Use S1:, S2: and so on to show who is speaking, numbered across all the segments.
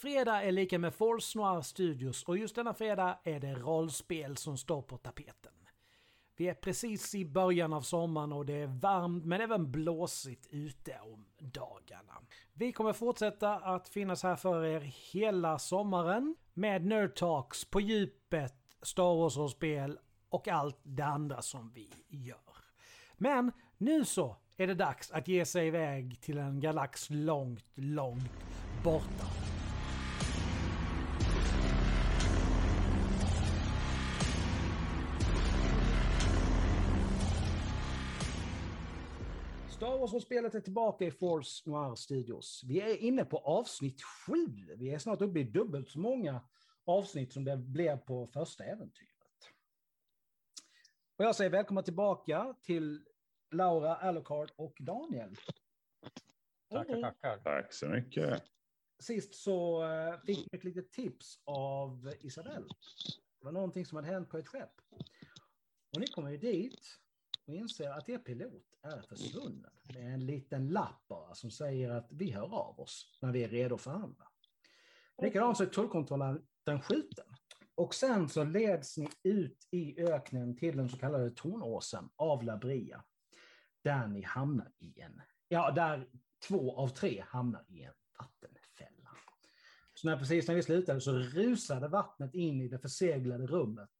S1: fredag är lika med Force Noir Studios och just denna fredag är det rollspel som står på tapeten. Vi är precis i början av sommaren och det är varmt men även blåsigt ute om dagarna. Vi kommer fortsätta att finnas här för er hela sommaren med Nerd Talks på djupet, Star Wars-rollspel och allt det andra som vi gör. Men nu så är det dags att ge sig iväg till en galax långt, långt borta. Star Wars-spelet är tillbaka i Force Noir Studios. Vi är inne på avsnitt sju. Vi är snart uppe i dubbelt så många avsnitt som det blev på första äventyret. Och jag säger välkomna tillbaka till Laura, Alucard och Daniel.
S2: Tackar,
S1: Och
S2: tackar.
S3: Tack så mycket.
S1: Sist så eh, fick vi ett litet tips av Isabelle. Det var någonting som hade hänt på ett skepp. Och ni kommer ju dit och inser att er pilot är försvunnen med en liten lapp bara som säger att vi hör av oss när vi är redo att förhandla. Likadant så är tullkontrollanten skjuten. Och sen så leds ni ut i öknen till den så kallade Tornåsen av Labria. Där ni hamnar i en, ja där två av tre hamnar i en vattenfälla. Så när, precis när vi slutade så rusade vattnet in i det förseglade rummet.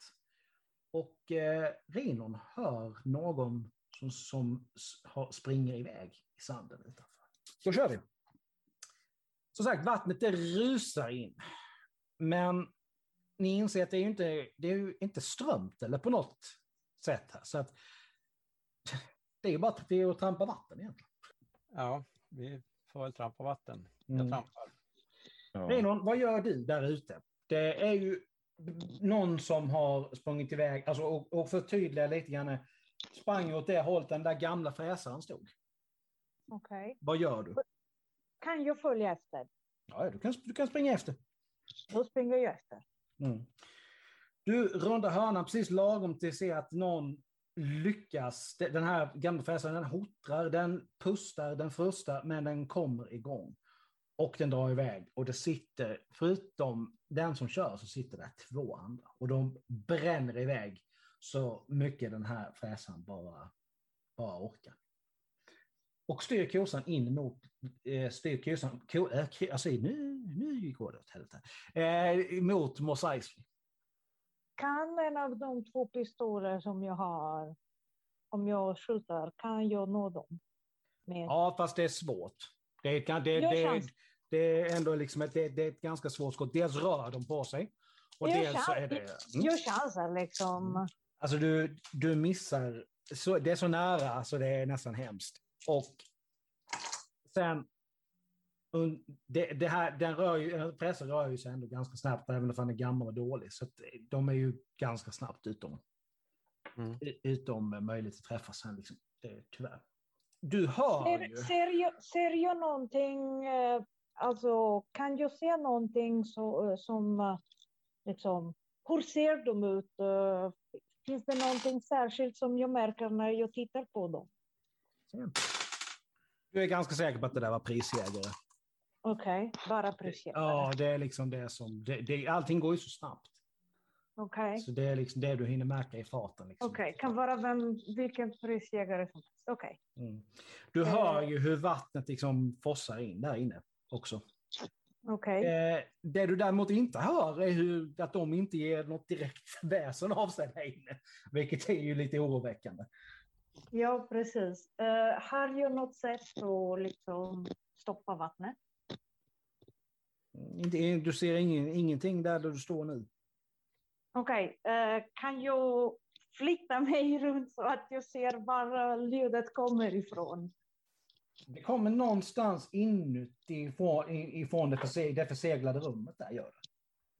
S1: Och eh, Rinon hör någon som, som s- har, springer iväg i sanden utanför. Så kör vi. Som sagt, vattnet det rusar in. Men ni inser att det är ju inte, det är ju inte strömt eller på något sätt. Här. Så att, det är ju bara att, det är att trampa vatten egentligen.
S2: Ja, vi får väl trampa vatten.
S1: Mm.
S2: Jag trampar.
S3: Ja.
S1: Renon, vad gör du där ute? Det är ju någon som har sprungit iväg, alltså, och, och förtydliga lite grann, sprang åt det hållet den där gamla fräsaren stod.
S4: Okej.
S1: Vad gör du?
S4: Kan jag följa efter?
S1: Ja, ja, du, kan, du kan springa efter.
S4: Då springer jag efter.
S1: Mm. Du rundar hörnan precis lagom till att se att någon lyckas. Den här gamla fräsaren, den hotrar, den pustar, den frustar, men den kommer igång. Och den drar iväg. Och det sitter, förutom den som kör, så sitter det två andra. Och de bränner iväg så mycket den här fräsaren bara, bara orkar. Och styr kosan in mot, eh, styr kosan, ko, eh, kri- alltså nu, nu går det åt helvete. Eh, mot Mos Eisley.
S4: Kan en av de två pistoler som jag har, om jag skjuter, kan jag nå dem? Med?
S1: Ja, fast det är svårt. Det, kan, det,
S4: Gör
S1: det,
S4: chans.
S1: det är ändå liksom ett, det, det är ett ganska svårt skott. Dels rör de på sig. Och
S4: Gör
S1: dels så
S4: chans.
S1: är det...
S4: Jag chansar liksom.
S1: Alltså du, du missar. Så, det är så nära så det är nästan hemskt. Och sen... un- Det, det här, den rör ju, pressen rör ju sig ändå ganska snabbt, även om den är gammal och dålig. Så att de är ju ganska snabbt utom,
S2: Mm.
S1: utom möjligt att träffa sen, liksom, det, tyvärr. Du hör
S4: Ser,
S1: ju.
S4: ser, jag, ser jag någonting, eh, alltså kan jag se någonting så, eh, som, eh, liksom, hur ser de ut? Eh, Finns det någonting särskilt som jag märker när jag tittar på dem?
S1: Du är ganska säker på att det där var prisjägare?
S4: Okej, bara precis.
S1: Ja, det är liksom det som... Det, det, allting går ju så snabbt.
S4: Okej.
S1: Så det är liksom det du hinner märka i farten. Liksom.
S4: Okej, kan vara vem, vilken prisjägare som helst. Okej.
S1: Mm. Du hör ju hur vattnet liksom forsar in där inne också.
S4: Okej.
S1: Eh, det du däremot inte hör är hur, att de inte ger något direkt väsen av sig där inne. Vilket är ju lite oroväckande.
S4: Ja, precis. Eh, har jag något sätt att liksom stoppa vattnet?
S1: Mm, Inte- Du ser ingen, ingenting där, där du står nu.
S4: Okej, eh, kan jag flytta mig runt så att jag ser var eh, ljudet kommer ifrån?
S1: Det kommer någonstans inutifrån ifrån det, förse, det förseglade rummet där gör det.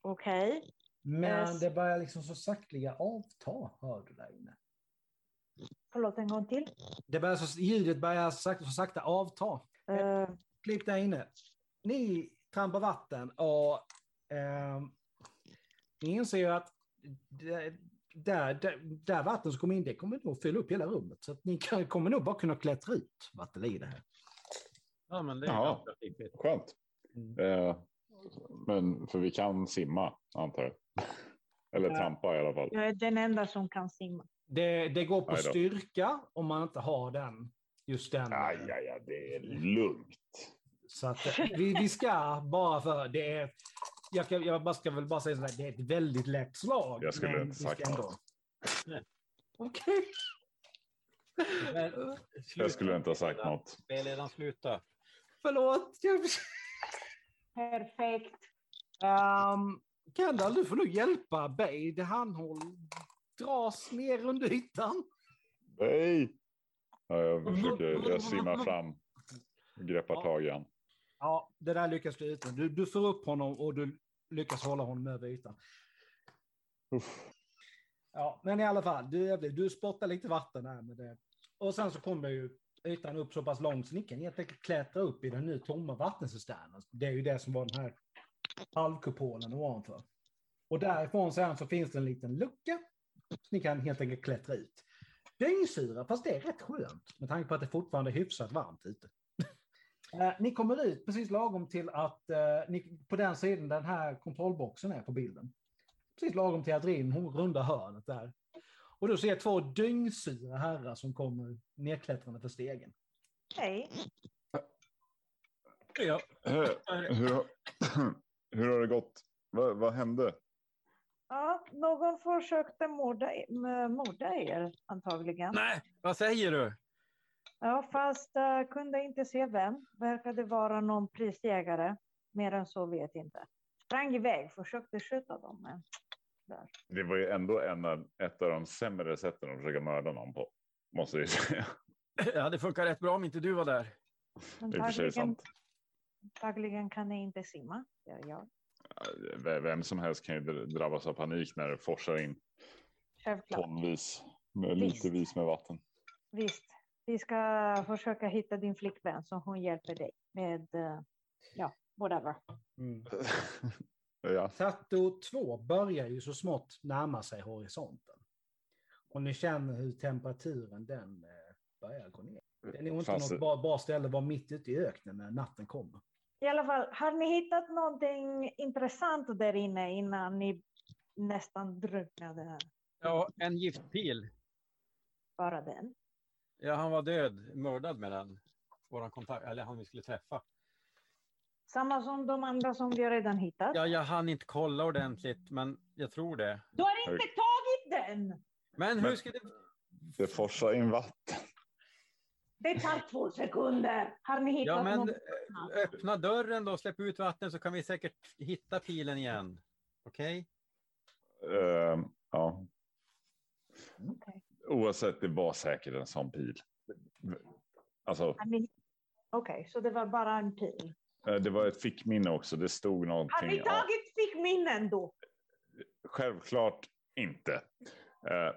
S4: Okej.
S1: Men
S4: Yes.
S1: det börjar liksom så sakteliga avta, hör du där inne.
S4: Förlåt, en gång till.
S1: Det börjar så, ljudet börjar så sakta, så sakta avta.
S4: Eh,
S1: Klipp där inne. Ni trampar vatten och ehm, ni inser ju att det, där, där, där vatten som kommer in, det kommer nog fylla upp hela rummet. Så att ni kan, kommer nog bara kunna klättra ut vatten i det här.
S2: Ja, men det är
S3: Jaha.
S2: ganska fiffigt.
S3: Skönt.
S1: Mm.
S3: Eh, Men för vi kan simma antar jag. Eller
S4: Ja.
S3: trampa i alla fall.
S4: Jag är den enda som kan simma.
S1: Det, det går på
S3: Aj då.
S1: styrka om man inte har den. Just den.
S3: Aj, aj, aj, det är lugnt.
S1: Så att, eh, vi, vi ska bara för det är. Jag, kan, jag bara ska väl bara säga så här. Det är ett väldigt lätt slag.
S3: Jag skulle
S1: men
S3: inte
S1: vi ska
S3: sagt
S1: ändå-
S3: något.
S1: Okej.
S2: Men,
S3: Jag skulle inte ha sagt något.
S2: Spelledaren sluta.
S1: Förlåt. Jag...
S4: Perfekt.
S1: Um, Kendall, du får nog hjälpa Bade. Han håller, dras ner under ytan.
S3: Nej! Ja, jag försöker, jag simmar fram. Greppar tag i han.
S1: Ja, det där lyckas du utan. Du, du får upp honom och du lyckas hålla honom över ytan.
S3: Uff.
S1: Ja, men i alla fall, du, du spottar lite vatten här med det. Och sen så kommer ju ytan upp så pass långt så ni kan helt enkelt klättra upp i den nu tomma vattencisternen. Det är ju det som var den här halvkupolen ovanför. Och därifrån sen så finns det en liten lucka så ni kan helt enkelt klättra ut. Dyngsyra, fast det är rätt skönt med tanke på att det fortfarande är hyfsat varmt ute. Eh, Ni kommer ut precis lagom till att eh, ni, på den sidan den här kontrollboxen är på bilden precis lagom till att Rin hon rundar hörnet där. Och du ser två dyngsyra herrar som kommer nedklättrande för stegen.
S4: Hej.
S2: Ja,
S3: Eh, Hur, har- hur har det gått? Vad, vad hände?
S4: Ja, någon försökte morda, e- m- morda er antagligen.
S2: Nej, vad säger du?
S4: Ja, fast jag kunde inte se vem. Verkade vara någon prisjägare. Mer än så vet jag inte. Sprang iväg, försökte skjuta dem. Men...
S3: Det var ju ändå en av, ett av de sämre sätten att försöka mörda någon på. Måste jag ju säga.
S2: Ja, det funkar rätt bra om inte du var där.
S3: Det är i och för sig sant.
S4: antagligen kan jag inte simma. Ja, ja.
S3: V- Vem som helst kan ju dr- drabbas av panik när det forsar in
S4: Självklart.
S3: tonvis, med
S4: Visst.
S3: litervis med vatten.
S4: Visst. Vi ska försöka hitta din flickvän så hon hjälper dig med, eh, ja, whatever.
S3: ja.
S1: Tatto 2 börjar ju så smått närma sig horisonten. Och ni känner hur temperaturen den eh, börjar gå ner. Det är nog inte
S3: Fanns
S1: något bra, bra ställe att vara mitt ute i öknen när natten kommer.
S4: I alla fall, har ni hittat någonting intressant där inne innan ni nästan drunknade?
S2: Ja, en giftpil.
S4: Bara den.
S2: Ja, han var död, mördad med den. Våran kontakt, eller han vi skulle träffa.
S4: Samma som de andra som vi redan hittat.
S2: Ja, jag hann inte kolla ordentligt, men jag tror det.
S4: Du har inte tagit den!
S2: Men hur
S3: Men-
S2: ska det...
S3: Det forsar in vatten.
S4: Det tar två sekunder. Har ni hittat
S2: Ja, men
S4: någon?
S2: eh, öppna dörren då, släpp ut vattnet så kan vi säkert hitta pilen igen. Okej?
S3: Eh, ja.
S4: Okej.
S3: Oavsett, det var säkert en sån pil. Alltså,
S4: Har ni- Okej, så det var bara en pil.
S3: eh, det var ett fickminne också. Det stod
S4: Har ni
S3: någonting. Ja,
S4: tagit fickminnen då?
S3: självklart inte. Eh,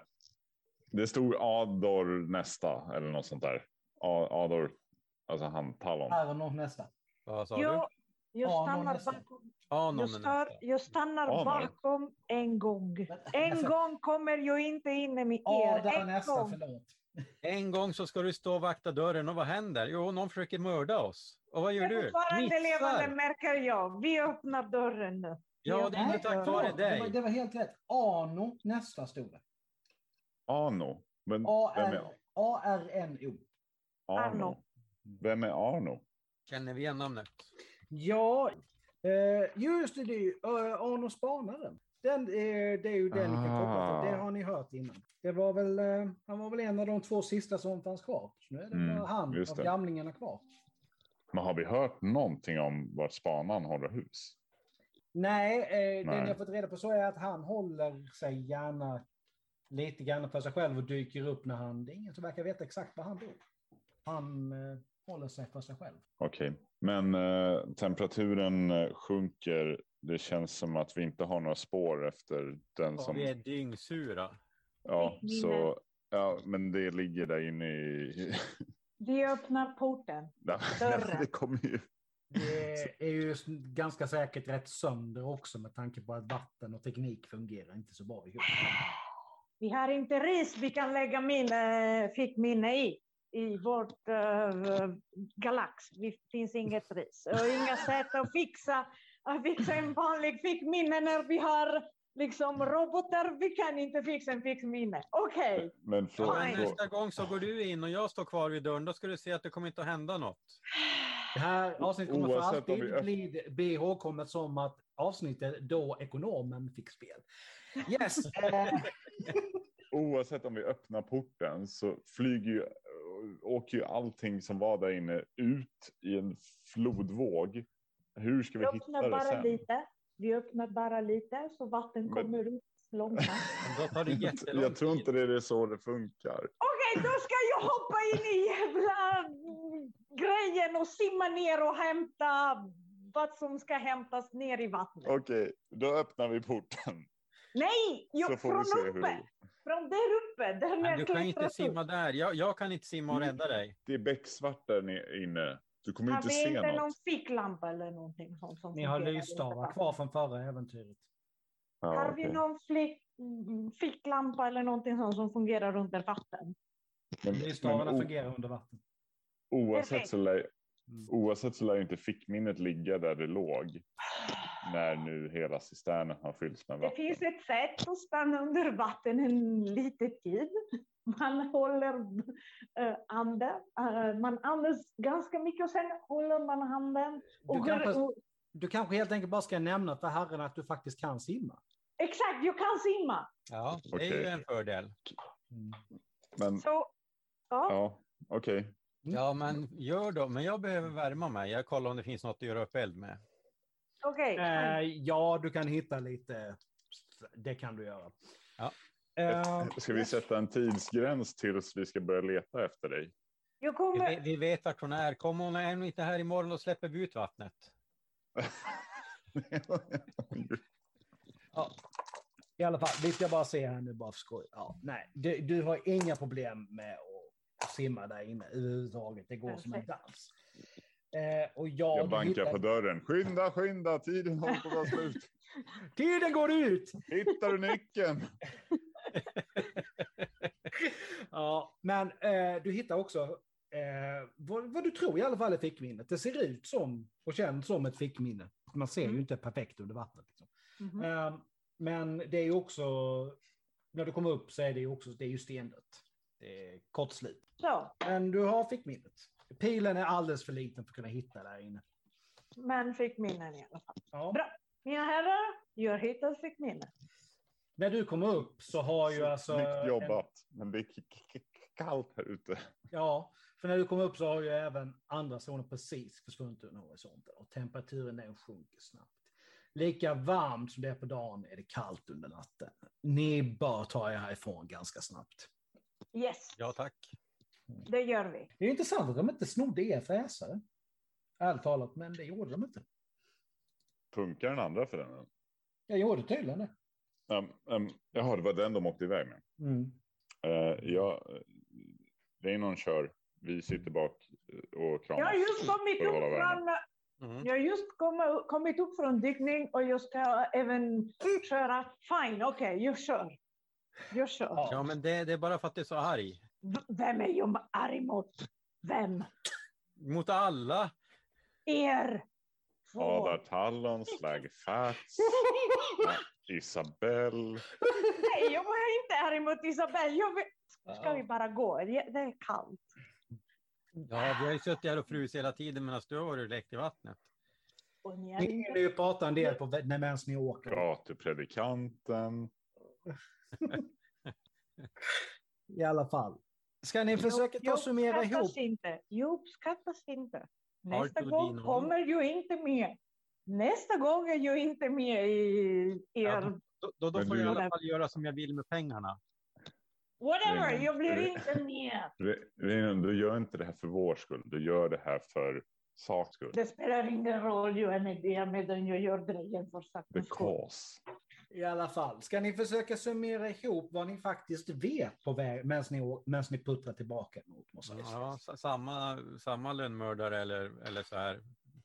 S3: det stod Ador nästa eller något sånt där. A- Ador, alltså han Talon.
S1: Här är någon nästa.
S2: Vad sa du?
S4: Jag,
S1: Ja,
S4: jag,
S1: någon
S4: stannar
S1: nästa.
S4: bakom,
S2: Anon är
S4: jag,
S2: nästa.
S4: stör, jag stannar
S3: Ja, någon.
S4: bakom en gång. En
S1: Nästa.
S4: gång kommer jag inte in med
S1: Ja,
S4: er.
S1: där är
S4: En
S1: nästa,
S4: gång.
S1: förlåt.
S2: En gång så ska du stå och vakta dörren och vad händer? Jo, någon försöker mörda oss. Och vad
S4: Jag
S2: gör
S4: är
S2: du?
S4: fortfarande levande
S2: Missar!
S4: märker jag. Vi öppnar dörren nu.
S2: Ja, det är inte
S1: Nej,
S2: tack vare
S1: förlåt, det var,
S2: dig.
S1: det var helt rätt. Ano nästa stod det.
S3: Ano. Men vem är
S1: A-R- A-R-N-O.
S3: Arno?
S4: Arno.
S3: Vem är Arno?
S2: Känner vi igen namnet?
S1: Ja, eh, just det, det är ju eh, Arno Spanaren. Den, eh, det är ju den ni kan koppla till. Det
S3: Ah.
S1: har ni hört innan. Det var väl, eh, han var väl en av de två sista som fanns kvar. Så nu är det
S3: Mm,
S1: bara han
S3: just
S1: av
S3: det.
S1: gamlingarna kvar.
S3: Men har vi hört någonting om vart spanaren håller hus?
S1: Nej, eh, det
S3: Nej.
S1: ni har fått reda på så är att han håller sig gärna lite grann för sig själv och dyker upp när han... Det är ingen som verkar veta exakt var han bor. Han eh, håller sig för sig själv.
S3: Okej, men eh, temperaturen eh, sjunker. Det känns som att vi inte har några spår efter den
S2: Ja,
S3: som.
S2: Vi är dyngsura.
S3: Ja,
S4: Mina.
S3: så ja, men det ligger där inne i.
S4: Vi öppnar porten.
S3: Nej,
S4: Dörren.
S3: men det kommer ju.
S1: Det är ju s- ganska säkert rätt sönder också med tanke på att vatten och teknik fungerar inte så bra ihop.
S4: Vi har inte ris vi kan lägga min, eh, fickminne i. I vårt eh, galax. Det finns inget ris. Och inga sätt att fixa att fixa en vanlig fickminne när vi har liksom robotar. Vi kan inte fixa en fickminne. Okej.
S3: Men
S2: Ja,
S3: frågan
S2: men
S4: Fine.
S2: nästa gång så går du in och jag står kvar vid dörren. Då ska du se att det kommer inte att hända något.
S1: Det här avsnittet kommer för
S3: Oavsett om vi
S1: alltid
S3: öpp-
S1: bli behågkommet som att avsnittet då ekonomen fick spel. Yes, eh,
S3: oavsett om vi öppnar porten så flyger ju, åker ju allting som var där inne ut i en flodvåg. Hur ska vi
S4: Vi
S3: hitta
S4: öppnar
S3: det
S4: bara
S3: sen?
S4: lite. Vi öppnar bara lite så vatten
S3: Men-
S4: kommer ut långsamt.
S2: Men Då tar det jättelång
S3: Jag tror
S2: tid.
S3: inte det är så det funkar.
S4: Okej, då ska jag hoppa in i jävla grejen och simma ner och hämta vad som ska hämtas ner i vattnet.
S3: Okej, då öppnar vi porten.
S4: Nej,
S3: så
S4: jag,
S3: får vi
S4: från
S3: se hur
S4: uppe.
S3: det
S4: Från där uppe. Där när
S2: Men du
S4: jag
S2: kan ju inte
S4: klättrar upp.
S2: simma där. Jag, jag kan inte simma
S3: Mm.
S2: och rädda dig.
S3: Det är becksvart där ni- inne. Du kommer
S4: Har
S3: inte
S4: vi
S3: se
S4: inte
S3: något.
S4: någon ficklampa eller någonting sånt? Som
S1: ni har
S4: fungerar i
S1: lysstavar
S4: vattnet?
S1: kvar från förra äventyret.
S3: Ja,
S4: Har vi
S3: okej.
S4: någon flick, mm, ficklampa eller någonting sånt som fungerar under vatten?
S3: Men-
S1: Lysstavarna
S3: men o-
S1: fungerar under vatten.
S3: Oavsett
S4: Perfekt.
S3: så, lär,
S1: Mm.
S3: oavsett så lär ju inte fickminnet ligga där det låg. När nu hela cisternen har fyllts med
S4: Det
S3: vatten.
S4: finns ett sätt att stanna under vatten en liten tid. Man håller eh, andan, eh, man andas ganska mycket och sen håller man handen.
S1: Du,
S4: Och
S1: kanske,
S4: hur, och,
S1: du kanske helt enkelt bara ska nämna för herren att du faktiskt kan simma.
S4: exakt, jag kan simma.
S2: Ja, det är
S3: Okej.
S2: ju en fördel.
S1: Mm.
S3: Men
S4: Så, ja.
S3: ja, okej.
S2: Ja, men gör då. Men jag behöver värma mig. Jag kollar om det finns något att göra upp eld med.
S4: okej.
S1: Eh, ja, du kan hitta lite. Det kan du göra.
S2: Ja.
S4: Ehm,
S1: Eh,
S3: Ska vi sätta en tidsgräns tills vi ska börja leta efter dig?
S4: Jag
S2: Vi,
S4: kommer...
S2: ve- vi vet vart hon är. Kommer hon ännu inte här imorgon och släpper vi ut vattnet?
S1: I alla fall, det ska jag bara se här nu bara för skoj. Ja, nej, du, du har inga problem med att simma där inne överhuvudtaget. Det går som en dans. Eh, och ja,
S3: Jag
S1: du
S3: bankar
S1: hittar-
S3: på dörren. Skynda, skynda, tiden håller på att ta slut.
S1: Tiden går ut!
S3: Hittar du nyckeln?
S1: Ja, men eh, du hittar också eh, vad, vad du tror i alla fall är fickminnet. Det ser ut som och känns som ett fickminne. Man ser
S4: Mm.
S1: ju inte perfekt under vattnet. Liksom.
S4: Mhm.
S1: Eh, men det är ju också, när du kommer upp så är det ju också, det är ju stendött. Det är kort slut.
S4: Så,
S1: Men du har fickminnet. Pilen är alldeles för liten för att kunna hitta där inne.
S4: men fick minnen i alla fall.
S1: Ja.
S4: Bra. Mina herrar, jag har hittat fick minnen.
S1: När du kommer upp så har ju alltså...
S3: Snyggt
S1: En,
S3: jobbat. Men det är k- k- k- kallt här ute.
S1: ja, för när du kommer upp så har ju även andra zoner precis försvunnit under horisonten och temperaturen den sjunker snabbt. Lika varmt som det är på dagen är det kallt under natten. Ni bör ta er härifrån ganska snabbt.
S4: Yes,
S2: Ja, tack.
S4: det gör vi.
S1: Det är ju intressant att de inte snodde er fräsare. Ärligt talat, men det gjorde de inte.
S3: Funkar den andra för den?
S1: Jag gjorde tydligen det.
S3: Um, um, jaha, det var den de åkte iväg med.
S1: Mm.
S3: Uh, jag, Reynon kör. Vi sitter bak eh, och kramas.
S4: Jag har just kommit
S3: för att hålla
S4: upp
S3: värmen.
S4: från,
S2: Mm.
S4: jag har just komma- kommit upp från dykning och jag ska även köra. Fine, okej, jag kör. Jag kör.
S1: Ja.
S2: Ja, men det, det är bara för att du är så arg.
S4: V- Vem är jag arg mot? Vem?
S2: Mot alla.
S4: Er?
S3: Adar Tallon, Slag Fats, Isabelle.
S4: Nej, jag var inte arg mot Isabel. Jag vill... Ska vi bara gå? Det det är kallt.
S2: Ja, vi har ju suttit här och frusit hela tiden medan du har varit och lekt i vattnet.
S4: Och ni
S1: Ni
S4: är...
S1: hinner ju prata en del på vä- när medan ni åker.
S3: Gatupredikanten.
S1: I alla fall. Ska ni försöka ta
S4: Jag
S1: och summera
S4: uppskattas
S1: ihop?
S4: Inte. Jag uppskattas inte. Nästa
S2: du
S4: gång
S2: din honom?
S4: kommer jag inte med. Nästa gång är jag inte med i er.
S2: Ja, då- Då, då, då
S3: Men
S2: får
S3: du-
S2: jag i alla fall göra som jag vill med pengarna.
S4: Whatever,
S3: Nej,
S4: jag blir
S3: det-
S4: inte med.
S3: Re- Renon, du gör inte det här för vår skull. Du gör det här för saks skull.
S4: Det spelar ingen roll, jag är med det medan jag gör grejen för
S3: The
S4: sakens skull.
S3: cause.
S1: I alla fall. Ska ni försöka summera ihop vad ni faktiskt vet på väg medan ni, å- medans ni puttrar tillbaka mot Mosaicus?
S2: Ja, sa- samma, samma lönnmördare eller, eller så här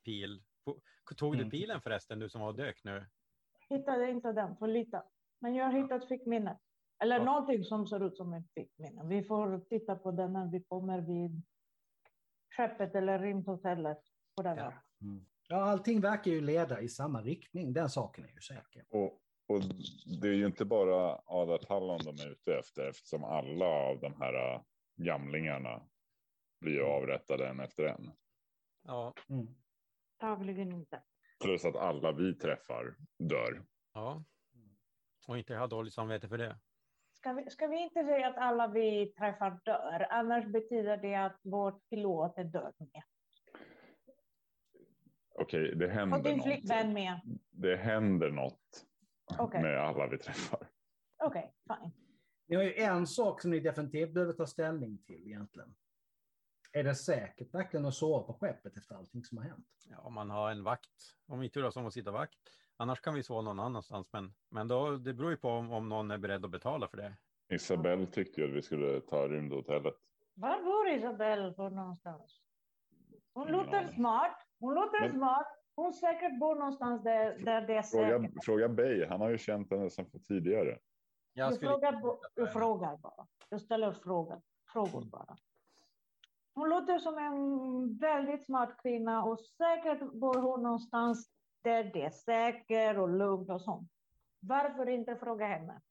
S2: pil. Po- Tog du
S1: Mm.
S2: pilen förresten, du som var och dök nu?
S4: Hittade inte den, för lite. Men jag har hittat fickminne. Eller
S2: Ja.
S4: någonting som ser ut som ett fickminne. Vi får titta på den när vi kommer vid skeppet eller rymdhotellet. Whatever.
S2: Ja.
S1: Ja, allting verkar ju leda i samma riktning. Den saken är ju säker.
S3: Och, och det är ju inte bara adartallon de är ute efter eftersom alla av de här äh, gamlingarna blir
S4: Mm.
S3: ju avrättade en efter en.
S2: Ja.
S1: Mm.
S4: Antagligen inte.
S3: Plus att alla vi träffar dör.
S2: ja. Och inte ha dåligt samvete för det.
S4: Ska vi, ska vi inte säga att alla vi träffar dör? Annars betyder det att vår pilot är död med.
S3: Okej, det händer
S2: Mm,
S4: Och din
S3: något.
S4: flickvän med.
S3: Det händer något
S4: Okej.
S3: med alla vi träffar.
S4: Okej, fine.
S1: Ni har ju en sak som ni definitivt behöver ta ställning till egentligen. Är det säkert verkligen att sova på skeppet efter allting som har hänt?
S2: Ja, om man har en vakt. Om vi tur har som att sitta vakt. Annars kan vi sova någon annanstans. Men, men då, det beror ju på om, om någon är beredd att betala för det.
S3: Isabelle tyckte ju att vi skulle ta rymdhotellet.
S4: Var bor Isabelle på någonstans? Hon
S3: Ingen
S4: låter
S3: aning.
S4: smart. Hon låter
S3: Men-
S4: smart. Hon säkert bor någonstans där, där det är
S3: Fråga,
S4: säkert.
S3: fråga Bey, han har ju känt henne sedan tidigare.
S2: Jag
S4: du,
S2: skulle-
S4: frågar, bo- du frågar bara. Du ställer frågor, frågor
S3: Mm.
S4: bara. Hon låter som en väldigt smart kvinna och säkert bor hon någonstans där det är säkert och lugnt och sånt. Varför inte fråga henne?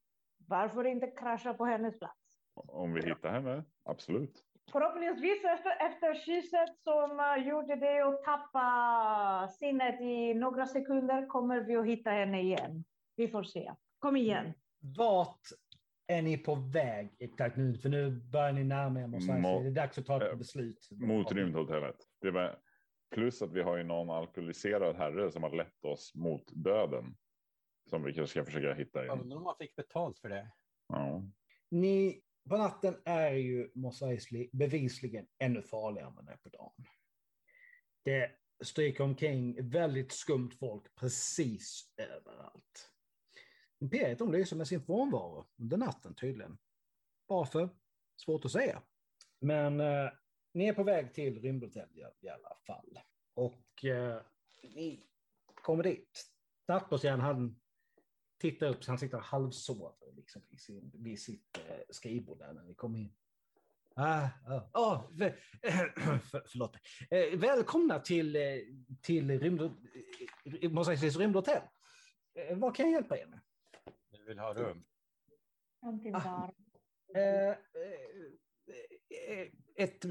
S4: Varför inte krascha på hennes plats?
S3: Om vi hittar henne, absolut.
S4: Förhoppningsvis efter, efter kysset som eh, gjorde det och tappa sinnet i några sekunder kommer vi att hitta henne igen. Vi får se. Kom igen.
S1: Vart är ni på väg exakt nu? För nu börjar ni närma er någonstans.
S3: Mot-
S1: det är dags att ta
S3: eh,
S1: ett beslut.
S3: Mot rymdhotellet. Det var, plus att vi har ju någon alkoholiserad herre som har lett oss mot döden. Som vi kanske ska försöka hitta igen.
S2: Undrar om man fick betalt för det.
S3: Ja.
S1: Ni, på natten är ju Mos Eisley bevisligen ännu farligare än vad det är på dagen. Det stryker omkring väldigt skumt folk precis överallt. Imperiet de lyser med sin frånvaro under natten tydligen. Varför? Svårt att säga. Men eh, ni är på väg till rymdhotellet i alla fall. Och eh, ni kommer dit. Nattbåtsjärn han tittar upp så han sitter och halvsover liksom, i sin, vid sitt eh, skrivbord där när vi kom in. Ah, ah, ah, vä- för, förlåt. Eh, välkomna till, eh, till rymd, eh, Mos Eisleys rymdhotell. Eh, vad kan jag hjälpa er med?
S2: Vi vill ha rum.
S4: Någonting
S1: Ah.
S4: där.
S1: Eh, eh, eh, ett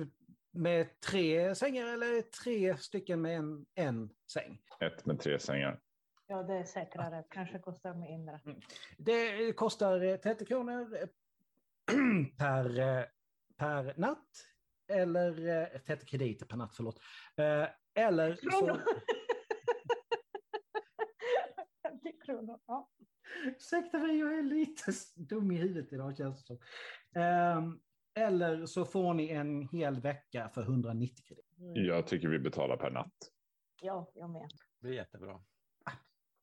S1: med tre sängar eller tre stycken med en, en säng?
S3: Ett med tre sängar.
S4: Ja, det är säkrare. Kanske kostar mindre.
S1: Det kostar eh, 30 kronor eh, per, eh, per natt. Eller eh, 30 krediter per natt, förlåt. Eh, Eller så,
S4: Kronor. 50 kronor. Ja.
S1: ursäkta mig, jag är lite s- dum i huvudet idag känns det som. Ehm, Eller så får ni en hel vecka för 190 krediter.
S4: Mm.
S3: Jag tycker vi betalar per natt.
S4: ja, jag med.
S2: Det blir jättebra.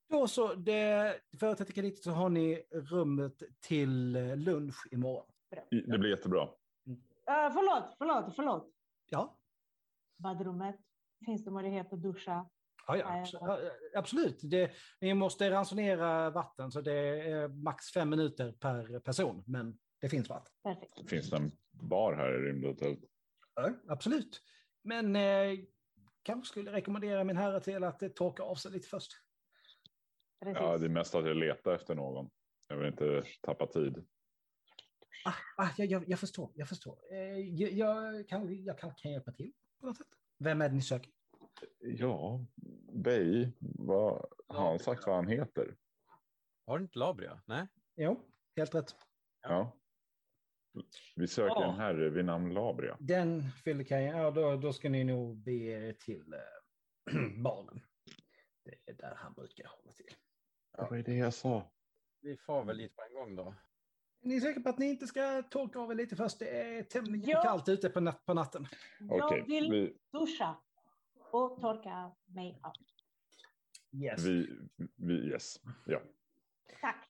S1: Då så, det, för 30 krediter så har ni rummet till eh, lunch imorgon.
S3: I- Det blir jättebra.
S4: Uh, förlåt, förlåt, förlåt.
S1: Ja,
S4: Badrummet. Finns det möjlighet att duscha?
S1: Ja, ja,
S4: Nej,
S1: abso-
S4: jag-
S1: ja, ja, absolut. Det, ni måste ransonera vatten, så det är max fem minuter per person. Men det finns vatten.
S4: Perfekt.
S3: Finns det en bar här i rymdhotellet?
S1: Ja, absolut. Men eh, kanske skulle rekommendera min herre till att eh, torka av sig lite först.
S4: Precis.
S3: Ja, det är mest att jag letar efter någon. Jag vill inte tappa tid.
S1: Ah, ah, jag, jag, jag förstår. Jag förstår. Eh, jag, jag, kan, jag kan, kan hjälpa till på något sätt. Vem är det ni söker?
S3: Ja, Bey, vad har han sagt vad han heter?
S2: Har du inte Labria? Nej.
S1: Jo, helt rätt.
S3: Ja. Vi söker en herre vid namn Labria.
S1: Den fyllekajen, ja, då, då ska ni nog bege er till eh, baren. Det är där han brukar hålla till.
S3: Vad är det jag sa?
S2: Vi får väl lite på en gång då.
S1: Ni är säkra på att ni inte ska torka av er lite först? Det är tämligen
S4: Ja.
S1: kallt ute på, nat- på natten.
S3: Okej,
S4: Jag vill
S3: vi,
S4: duscha och torka mig av.
S1: Yes.
S3: vi, vi, yes. Ja.
S4: Tack.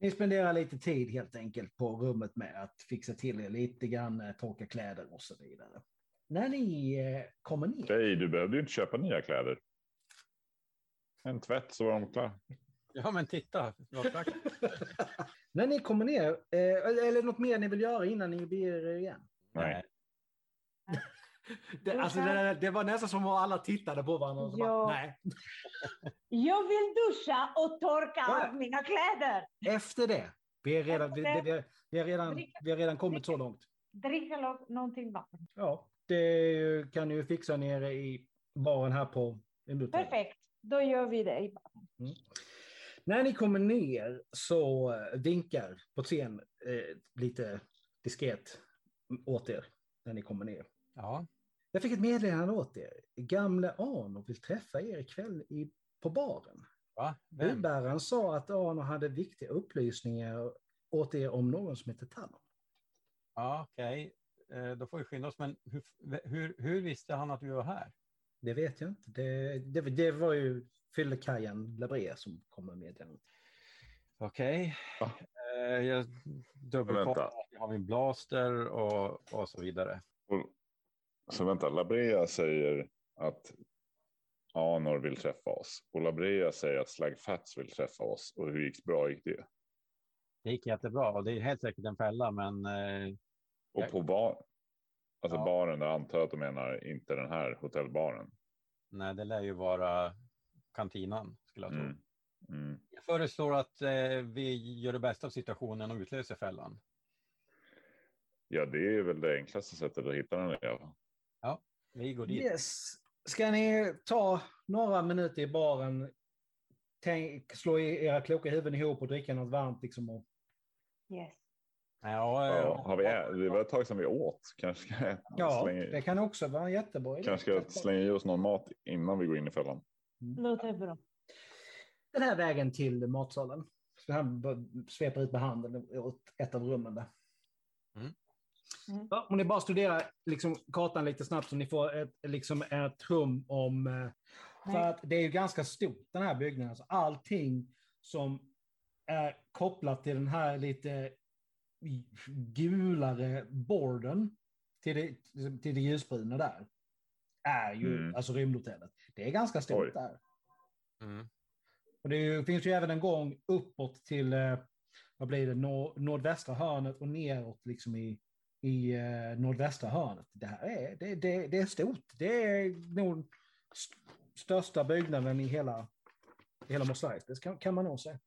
S1: Ni spenderar lite tid helt enkelt på rummet med att fixa till er lite grann, eh, torka kläder och så vidare. När ni eh, kommer ner,
S3: Bey, du behövde ju inte köpa nya kläder. En tvätt så var de klara.
S2: Ja, men titta. Vad praktiskt.
S1: när ni kommer ner, eh, eller eller något mer ni vill göra innan ni beger er igen?
S3: Nej.
S1: Det, alltså, det, det var nästan som om alla tittade på varandra. Och så
S4: Ja.
S1: bara, nej.
S4: Jag vill duscha och torka
S1: Ja.
S4: av mina kläder.
S1: Efter det, vi är redan, vi, det- vi, är- vi, är redan, vi har redan kommit så långt.
S4: Dricka lo- någonting vatten.
S1: Ja, det kan ni ju fixa nere i baren här på Embuta.
S4: Perfekt, då gör vi det.
S1: När ni kommer ner så eh, vinkar på scen eh, lite diskret åt er när ni kommer ner.
S2: Ja,
S1: Jag fick ett meddelande åt er. Gamle Arno vill träffa er ikväll i, på baren.
S2: va? Vem?
S1: Budbäraren sa att Arno hade viktiga upplysningar åt er om någon som heter Talon.
S2: Ja, okej. Eh, Då får vi skynda oss. Men hur, hur, hur visste han att vi var här?
S1: Det vet jag inte. Det, det, det var ju fyllekajen Labré som kom med meddelandet.
S2: Okej.
S3: Ja.
S2: Eh, Jag dubbelkollar
S3: Vänta.
S2: att jag har min blaster och, och så vidare.
S3: Så vänta, Labrea säger att Anor vill träffa oss. Och Labrea säger att Slagfats vill träffa oss. Och hur gick bra gick det?
S2: Det gick jättebra och det är helt säkert en fälla, men eh,
S3: Och på bar. Alltså
S2: Ja.
S3: baren, där antar jag att du menar inte den här hotellbaren.
S2: nej, det lär ju vara kantinan skulle jag tro.
S3: Mm. Mm.
S2: Jag föreslår att eh, vi gör det bästa av situationen och utlöser fällan.
S3: Ja, det är väl det enklaste sättet att hitta den. Ja.
S2: Vi går dit.
S1: Yes. Ska ni ta några minuter i baren, tänk, slå i era kloka huvuden ihop och dricka något varmt? Liksom och,
S4: Yes.
S2: Ja, eh,
S3: Ja, har vi, ä- det var ett tag sedan vi åt. Kanske ska
S1: ja, det
S3: slänga,
S1: kan också vara en jättebra idé.
S3: kanske ska slänga i oss någon mat innan vi går in i fällan.
S4: Låter bra.
S1: Den här vägen till matsalen. Så han b- sveper ut med handen åt ett av rummen där.
S2: Mm.
S4: Mm.
S1: Ja, om ni bara studerar liksom, kartan lite snabbt så ni får ett, liksom, ett hum om... eh, För
S4: Nej.
S1: att det är ju ganska stort den här byggnaden. Så allting som är kopplat till den här lite gulare borden till det, till det ljusbruna där är ju
S3: Mm.
S1: alltså rymdhotellet. Det är ganska stort
S3: Oj.
S1: där.
S2: Mm.
S1: Och det är ju, finns ju även en gång uppåt till, eh, vad blir det, nor nordvästra hörnet och neråt liksom i, i eh, nordvästra hörnet. Det här är, det, det, det är stort. Det är nog st största byggnaden i hela, i hela Mos Eisley, det kan, kan man nog säga.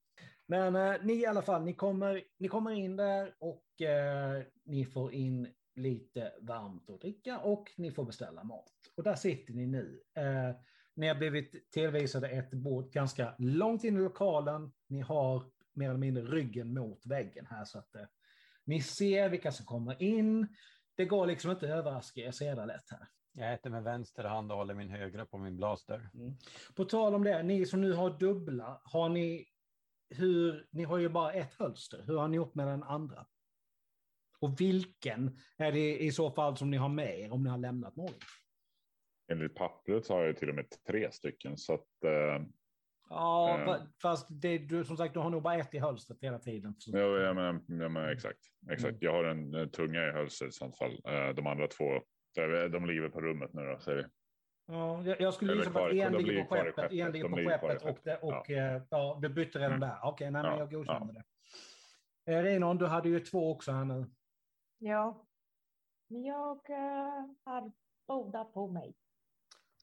S1: Men eh, ni i alla fall, ni kommer, ni kommer in där och eh, ni får in lite varmt att dricka och ni får beställa mat. Och där sitter ni nu. Eh, ni har blivit tillvisade ett bord ganska långt in i lokalen. Ni har mer eller mindre ryggen mot väggen här så att eh, ni ser vilka som kommer in. Det går liksom inte att överraska er så jävla lätt här.
S2: Jag äter med vänster hand och håller min högra på min blaster.
S1: På tal om det, ni som nu har dubbla, har ni, hur, ni har ju bara ett hölster. Hur har ni gjort med den andra? Och vilken är det i så fall som ni har med er om ni har lämnat någon?
S3: Enligt pappret så har jag till och med tre stycken. Så att, eh,
S1: Ja,
S3: Eh.
S1: fa- fast det, du, som sagt, du har nog bara ett i hölstret hela tiden. Så-
S3: Ja, ja, men, ja, men exakt. exakt.
S1: Mm.
S3: Jag har en, eh, tunga i hölster i sånt fall. Eh, De andra två, eh, de ligger på rummet nu då, säger vi.
S1: Ja, jag, jag skulle
S3: Eller
S1: gissa på
S3: kvar-
S1: att en
S3: de
S1: ligger
S3: ligger
S1: på
S3: kvar i
S1: skeppet, en
S3: skeppet,
S1: ligger
S3: de
S1: på
S3: ligger kvar i
S1: skeppet och, det,
S3: skeppet,
S1: och ja. Ja, du bytte redan
S3: Mm.
S1: där. Okej, nej, men
S3: Ja,
S1: jag godkänner det. Eh, Renon, du hade ju två också här nu.
S4: Ja. Men jag eh, har båda på mig.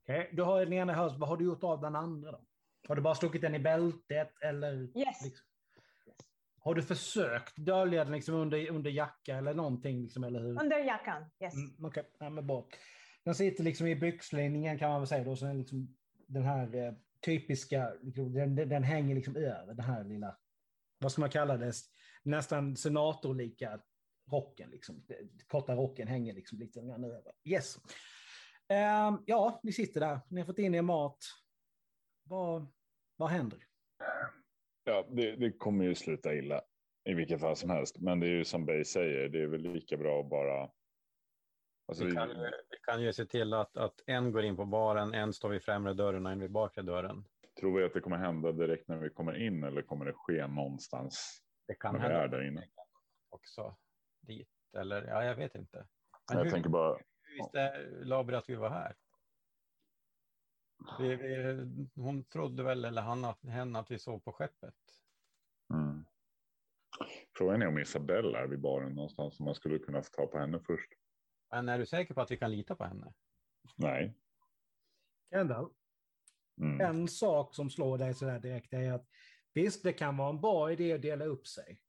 S1: Okay. Du har den ena hörs, vad har du gjort av den andra då? Har du bara stuckit den i bältet eller?
S4: Yes.
S1: Liksom, har du försökt dölja den liksom under, under jacka eller någonting? Liksom, eller hur?
S4: Under jackan. Yes.
S1: Mm, Okej, nej, men bra. Den sitter liksom i byxlinningen kan man väl säga då, så den, liksom, den här eh, typiska, liksom, den, den, den hänger liksom över den här lilla, vad ska man kalla det, nästan senatorlika rocken liksom. Korta rocken hänger liksom lite grann över. Yes. Ehm, ja, ni sitter där, ni har fått in er mat. Vad, vad händer?
S3: Ja, det, det kommer ju sluta illa i vilket fall som helst. Men det är ju som Bay säger, det är väl lika bra att bara... Alltså,
S2: Vi kan, ju- vi kan ju se till att, att en går in på baren, en står vid främre dörren och en vid bakre dörren.
S3: Tror vi att det kommer hända direkt när vi kommer in eller kommer det ske någonstans?
S2: Det kan
S3: Men vi är där inne.
S2: också dit, eller ja, jag vet inte. Men
S3: Jag
S2: hur,
S3: tänker bara,
S2: hur visste Labri att vi var här? Vi, vi, hon trodde väl, eller han, att, hen, att vi sov på skeppet.
S3: mm. Frågan är om Isabella är vid baren någonstans som man skulle kunna få ta på henne först.
S2: Men är du säker på att vi kan lita på henne?
S3: Nej.
S1: Kendall,
S3: Mm.
S1: en sak som slår dig sådär direkt är att visst, det kan vara en bra idé att dela upp sig.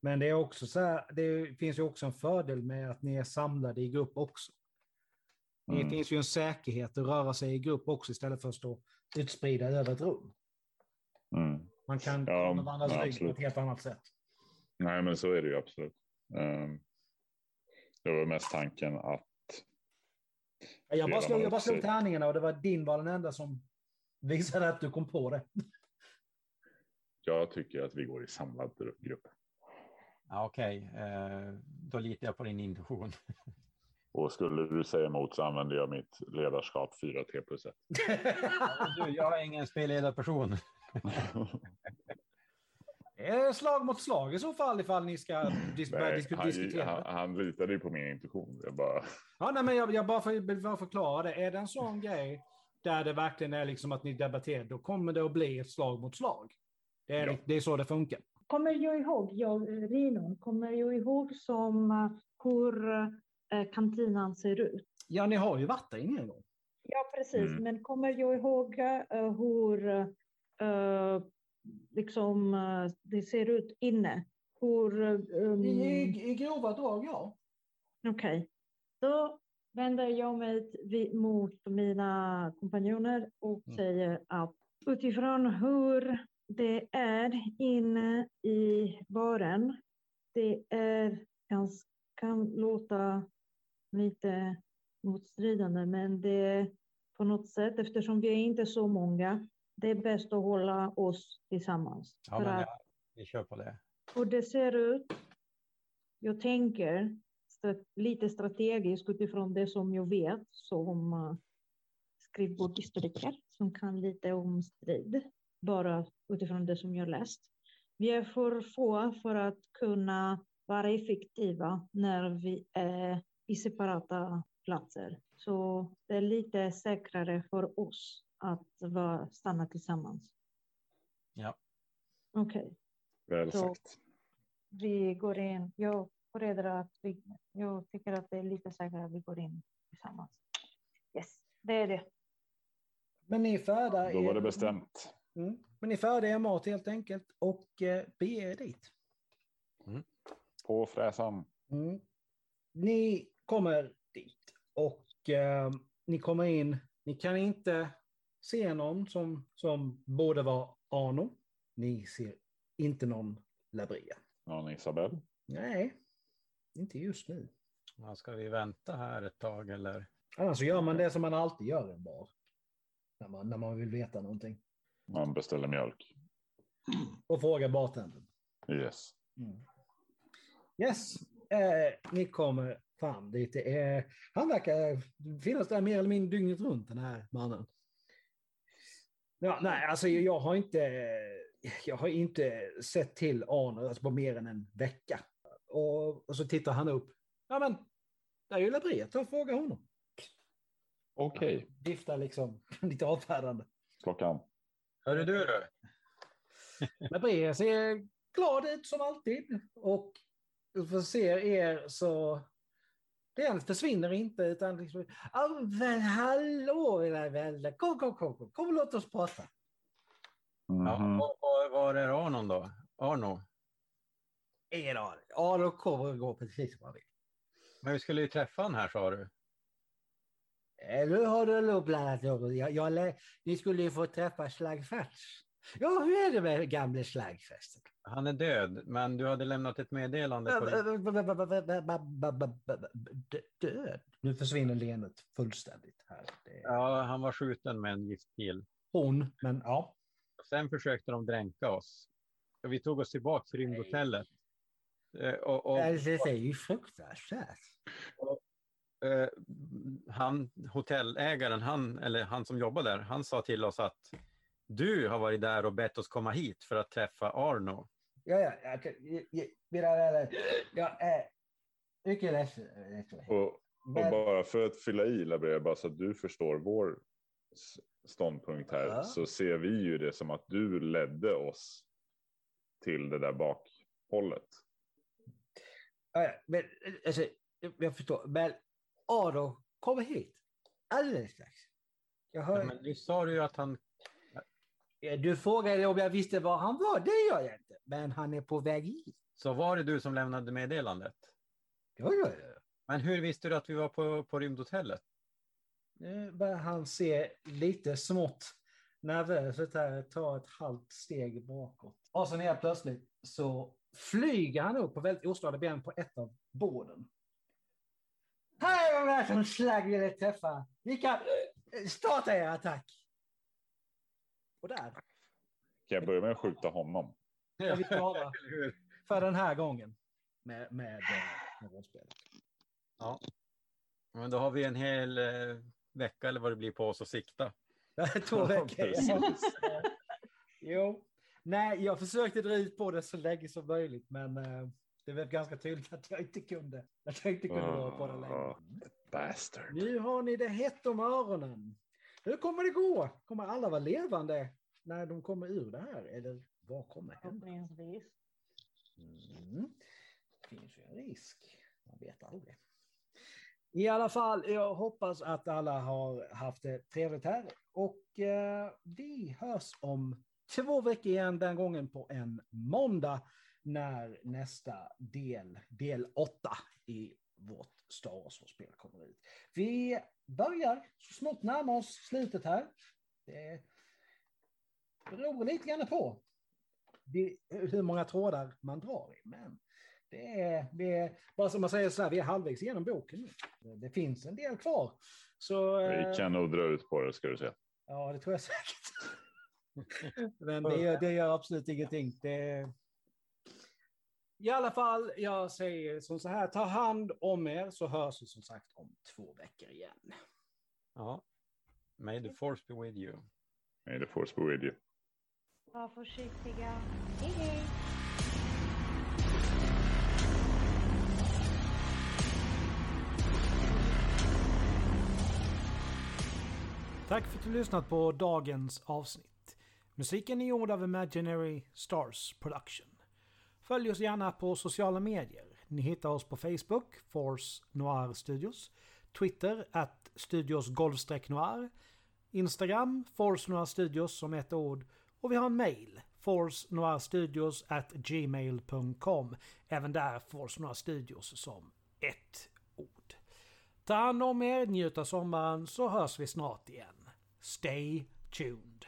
S1: Men det är också så här, det finns ju också en fördel med att ni är samlade i grupp också. Det
S3: Mm.
S1: finns ju en säkerhet att röra sig i grupp också istället för att stå utspridda över ett rum.
S3: Mm.
S1: Man kan
S3: Ja,
S1: komma varandras
S3: ja,
S1: rygg på
S3: absolut.
S1: ett helt annat sätt.
S3: Nej, men så är det ju absolut. Ehm, det var mest tanken att
S1: Jag bara
S3: Delar
S1: slog,
S3: man
S1: jag bara
S3: upp
S1: slog
S3: sig.
S1: tärningarna och det var din var den enda som visade att du kom på det.
S3: jag tycker att vi går i samlad gru- grupp
S2: Ja, Okej, eh, då litar jag på din intuition.
S3: och skulle du säga emot så använder jag mitt ledarskap 4 T plus 1.
S2: Du, jag är ingen spelledarperson.
S1: Det är slag mot slag i så fall ifall ni ska dis- börja
S3: Nej,
S1: disku-
S3: han,
S1: diskutera.
S3: han, han litade ju på min intuition. Jag bara,
S1: Ja, nej, men jag, jag bara, för, vill bara förklara det. Är det en sån grej där det verkligen är liksom att ni debatterar, då kommer det att bli ett slag mot slag. Det är,
S3: Ja.
S1: det är så det funkar.
S4: Kommer jag ihåg, jag, eh, Rinon, kommer jag ihåg som eh, hur eh, kantinan ser ut?
S1: Ja, ni har ju varit där inne en gång.
S4: Ja, precis.
S3: Mm.
S4: Men kommer jag ihåg eh, hur eh, liksom, eh, det ser ut inne? Hur... eh, um,
S1: I, I grova drag, ja.
S4: Okej. Då vänder jag mig vi- mot mina kompanjoner och
S1: Mm.
S4: säger att utifrån hur det är inne i baren, det är ganska, kan låta lite motstridande, men det är på något sätt, eftersom vi är inte så många, det är bäst att hålla oss tillsammans.
S2: Ja,
S4: För
S2: men
S4: att-
S2: jag, vi kör på det.
S4: och det ser ut, jag tänker stra- lite strategiskt utifrån det som jag vet som eh, skrivbordshistoriker som kan lite om strid, bara utifrån det som jag läst. Vi är för få för att kunna vara effektiva när vi är i separata platser. Så det är lite säkrare för oss att vara, stanna tillsammans.
S2: Ja.
S4: Okej.
S3: väl
S4: Så.
S3: sagt.
S4: Vi går in. Jag förbereder att vi, jag tycker att det är lite säkrare att vi går in tillsammans. Yes, det är det.
S1: Men ni är färdiga.
S3: Då
S1: i-
S3: var det bestämt.
S1: Mm. Men ni är färdiga i mat helt enkelt och eh, beger er dit.
S3: På fräsan.
S1: Mm. Ni kommer dit och eh, ni kommer in. Ni kan inte se någon som, som borde vara Arno. Ni ser inte någon Labria.
S3: Någon Isabel.
S1: Nej, inte just nu.
S2: Ja, Ska vi vänta här ett tag eller?
S1: Annars så gör man det som man alltid gör i en bar. När man, när man vill veta någonting.
S3: Man beställer mjölk.
S1: Och frågar bartendern.
S3: Yes.
S1: Mm. Yes, eh, ni kommer fram dit. Det är, han verkar finnas där mer eller mindre dygnet runt, den här mannen. Ja, nej, alltså jag har inte, jag har inte sett till Arne alltså, på mer än en vecka. Och, och så tittar han upp. Ja, men där är ju Labrie, ta och fråga honom.
S3: Okej.
S1: Viftar liksom lite avfärdande.
S3: Klockan.
S2: Hörru du, du.
S1: Labrie ser glad ut som alltid. Och för att se er så... Den försvinner inte utan liksom... "Ja, Men hallå mina vänner, kom, kom, kom, kom, kom och låt oss prata.
S2: Ja,
S3: Mhm.
S2: var, var, var är Arnon då? Arno?
S1: Ingen aning. Ja, då kommer det gå precis som man vill.
S2: Men vi skulle ju träffa han här sa du.
S1: Eh, Nu har du nog blandat ihop. Jag, jag, lä- ni skulle ju få träffa Slagfärts. Ja, hur är det med gamle Slagfärts?
S2: Han är död, men du hade lämnat ett meddelande. På din...
S1: Död. Nu försvinner leendet fullständigt här. Det är
S2: Ja, han var skjuten med en giftpil.
S1: hon, men ja.
S2: Sen försökte de dränka oss. Och vi tog oss tillbaka till rymdhotellet. Eh, Och, och,
S1: Ja, det är ju fruktansvärt.
S2: eh, han, hotellägaren, han, eller han som jobbar där, han sa till oss att du har varit där och bett oss komma hit för att träffa Arno.
S1: Ja, ja, jag, jag, jag, mina vänner, jag är eh, mycket eh, ledsen. över detta.
S3: Och, och
S1: Men-
S3: bara för att fylla i Labrea, bara så att du förstår vår s- ståndpunkt här,
S1: Ja.
S3: så ser vi ju det som att du ledde oss till det där bakhållet.
S1: eh, Ja, ja, men, alltså, jag förstår, men Ado, kom hit. alldeles strax. Jag
S2: Nej,
S1: hör,
S2: men nyss sa du ju att han...
S1: Eh, Du frågade om jag visste var han var. Det gör jag inte. Men han är på väg hit.
S2: Så var det du som lämnade meddelandet?
S1: Ja, ja, ja.
S2: Men hur visste du att vi var på, på rymdhotellet?
S1: Nu börjar han se lite smått nervös ut här, ta ett halvt steg bakåt. Och sen helt plötsligt så flyger han upp på väldigt ostadigt ben på ett av borden. Här var det här som slagg ville träffa. Ni kan eh, starta er attack. Och där
S3: Kan jag börja med att skjuta honom?
S1: är vi klara
S2: Eller hur?
S1: för den här gången med, med, eh, med rollspel.
S2: Men då har vi en hel eh, vecka eller vad det blir på oss att sikta.
S1: Två
S2: Ja,
S1: veckor.
S3: precis.
S1: jo. Nej, jag försökte dra ut på det så länge som möjligt, men eh, det blev ganska tydligt att jag inte kunde. Att jag inte kunde vara på det längre.
S3: Ah, Bastard.
S1: Nu har ni det hett om öronen. Hur kommer det gå? Kommer alla vara levande när de kommer ur det här? Eller vad kommer hända?
S4: Förhoppningsvis.
S1: Mm. Det finns ju en risk. Man vet aldrig. I alla fall, jag hoppas att alla har haft det trevligt här. Och eh, vi hörs om två veckor igen, den gången på en måndag, när nästa del, del åtta i vårt Star Wars-spel kommer ut. Vi börjar så smått närma oss slutet här. Det beror lite grann på det, hur många trådar man drar i. Men det är, vi är, bara som man säger så här, vi är halvvägs igenom boken nu. Det- Det finns en del kvar. Så, eh,
S3: Vi kan nog dra ut på det ska du se.
S1: Ja, det tror jag säkert. Men det gör, det gör absolut ingenting. Det... I alla fall, jag säger som så här, ta hand om er så hörs vi som sagt om två veckor igen.
S2: Ja. May the force be with you.
S3: May the force be with you.
S4: Var försiktiga. Hej, hej.
S1: Tack för att du lyssnat på dagens avsnitt. Musiken är gjord av Imaginary Stars Production. Följ oss gärna på sociala medier. Ni hittar oss på Facebook, Force Noir Studios, Twitter, at Studios Noir, Instagram, Force Noir Studios som ett ord och vi har en mail, forcenoirstudios at gmail.com. Även där Force Noir Studios som ett ord. Ta hand om er, njut av sommaren så hörs vi snart igen. Stay tuned!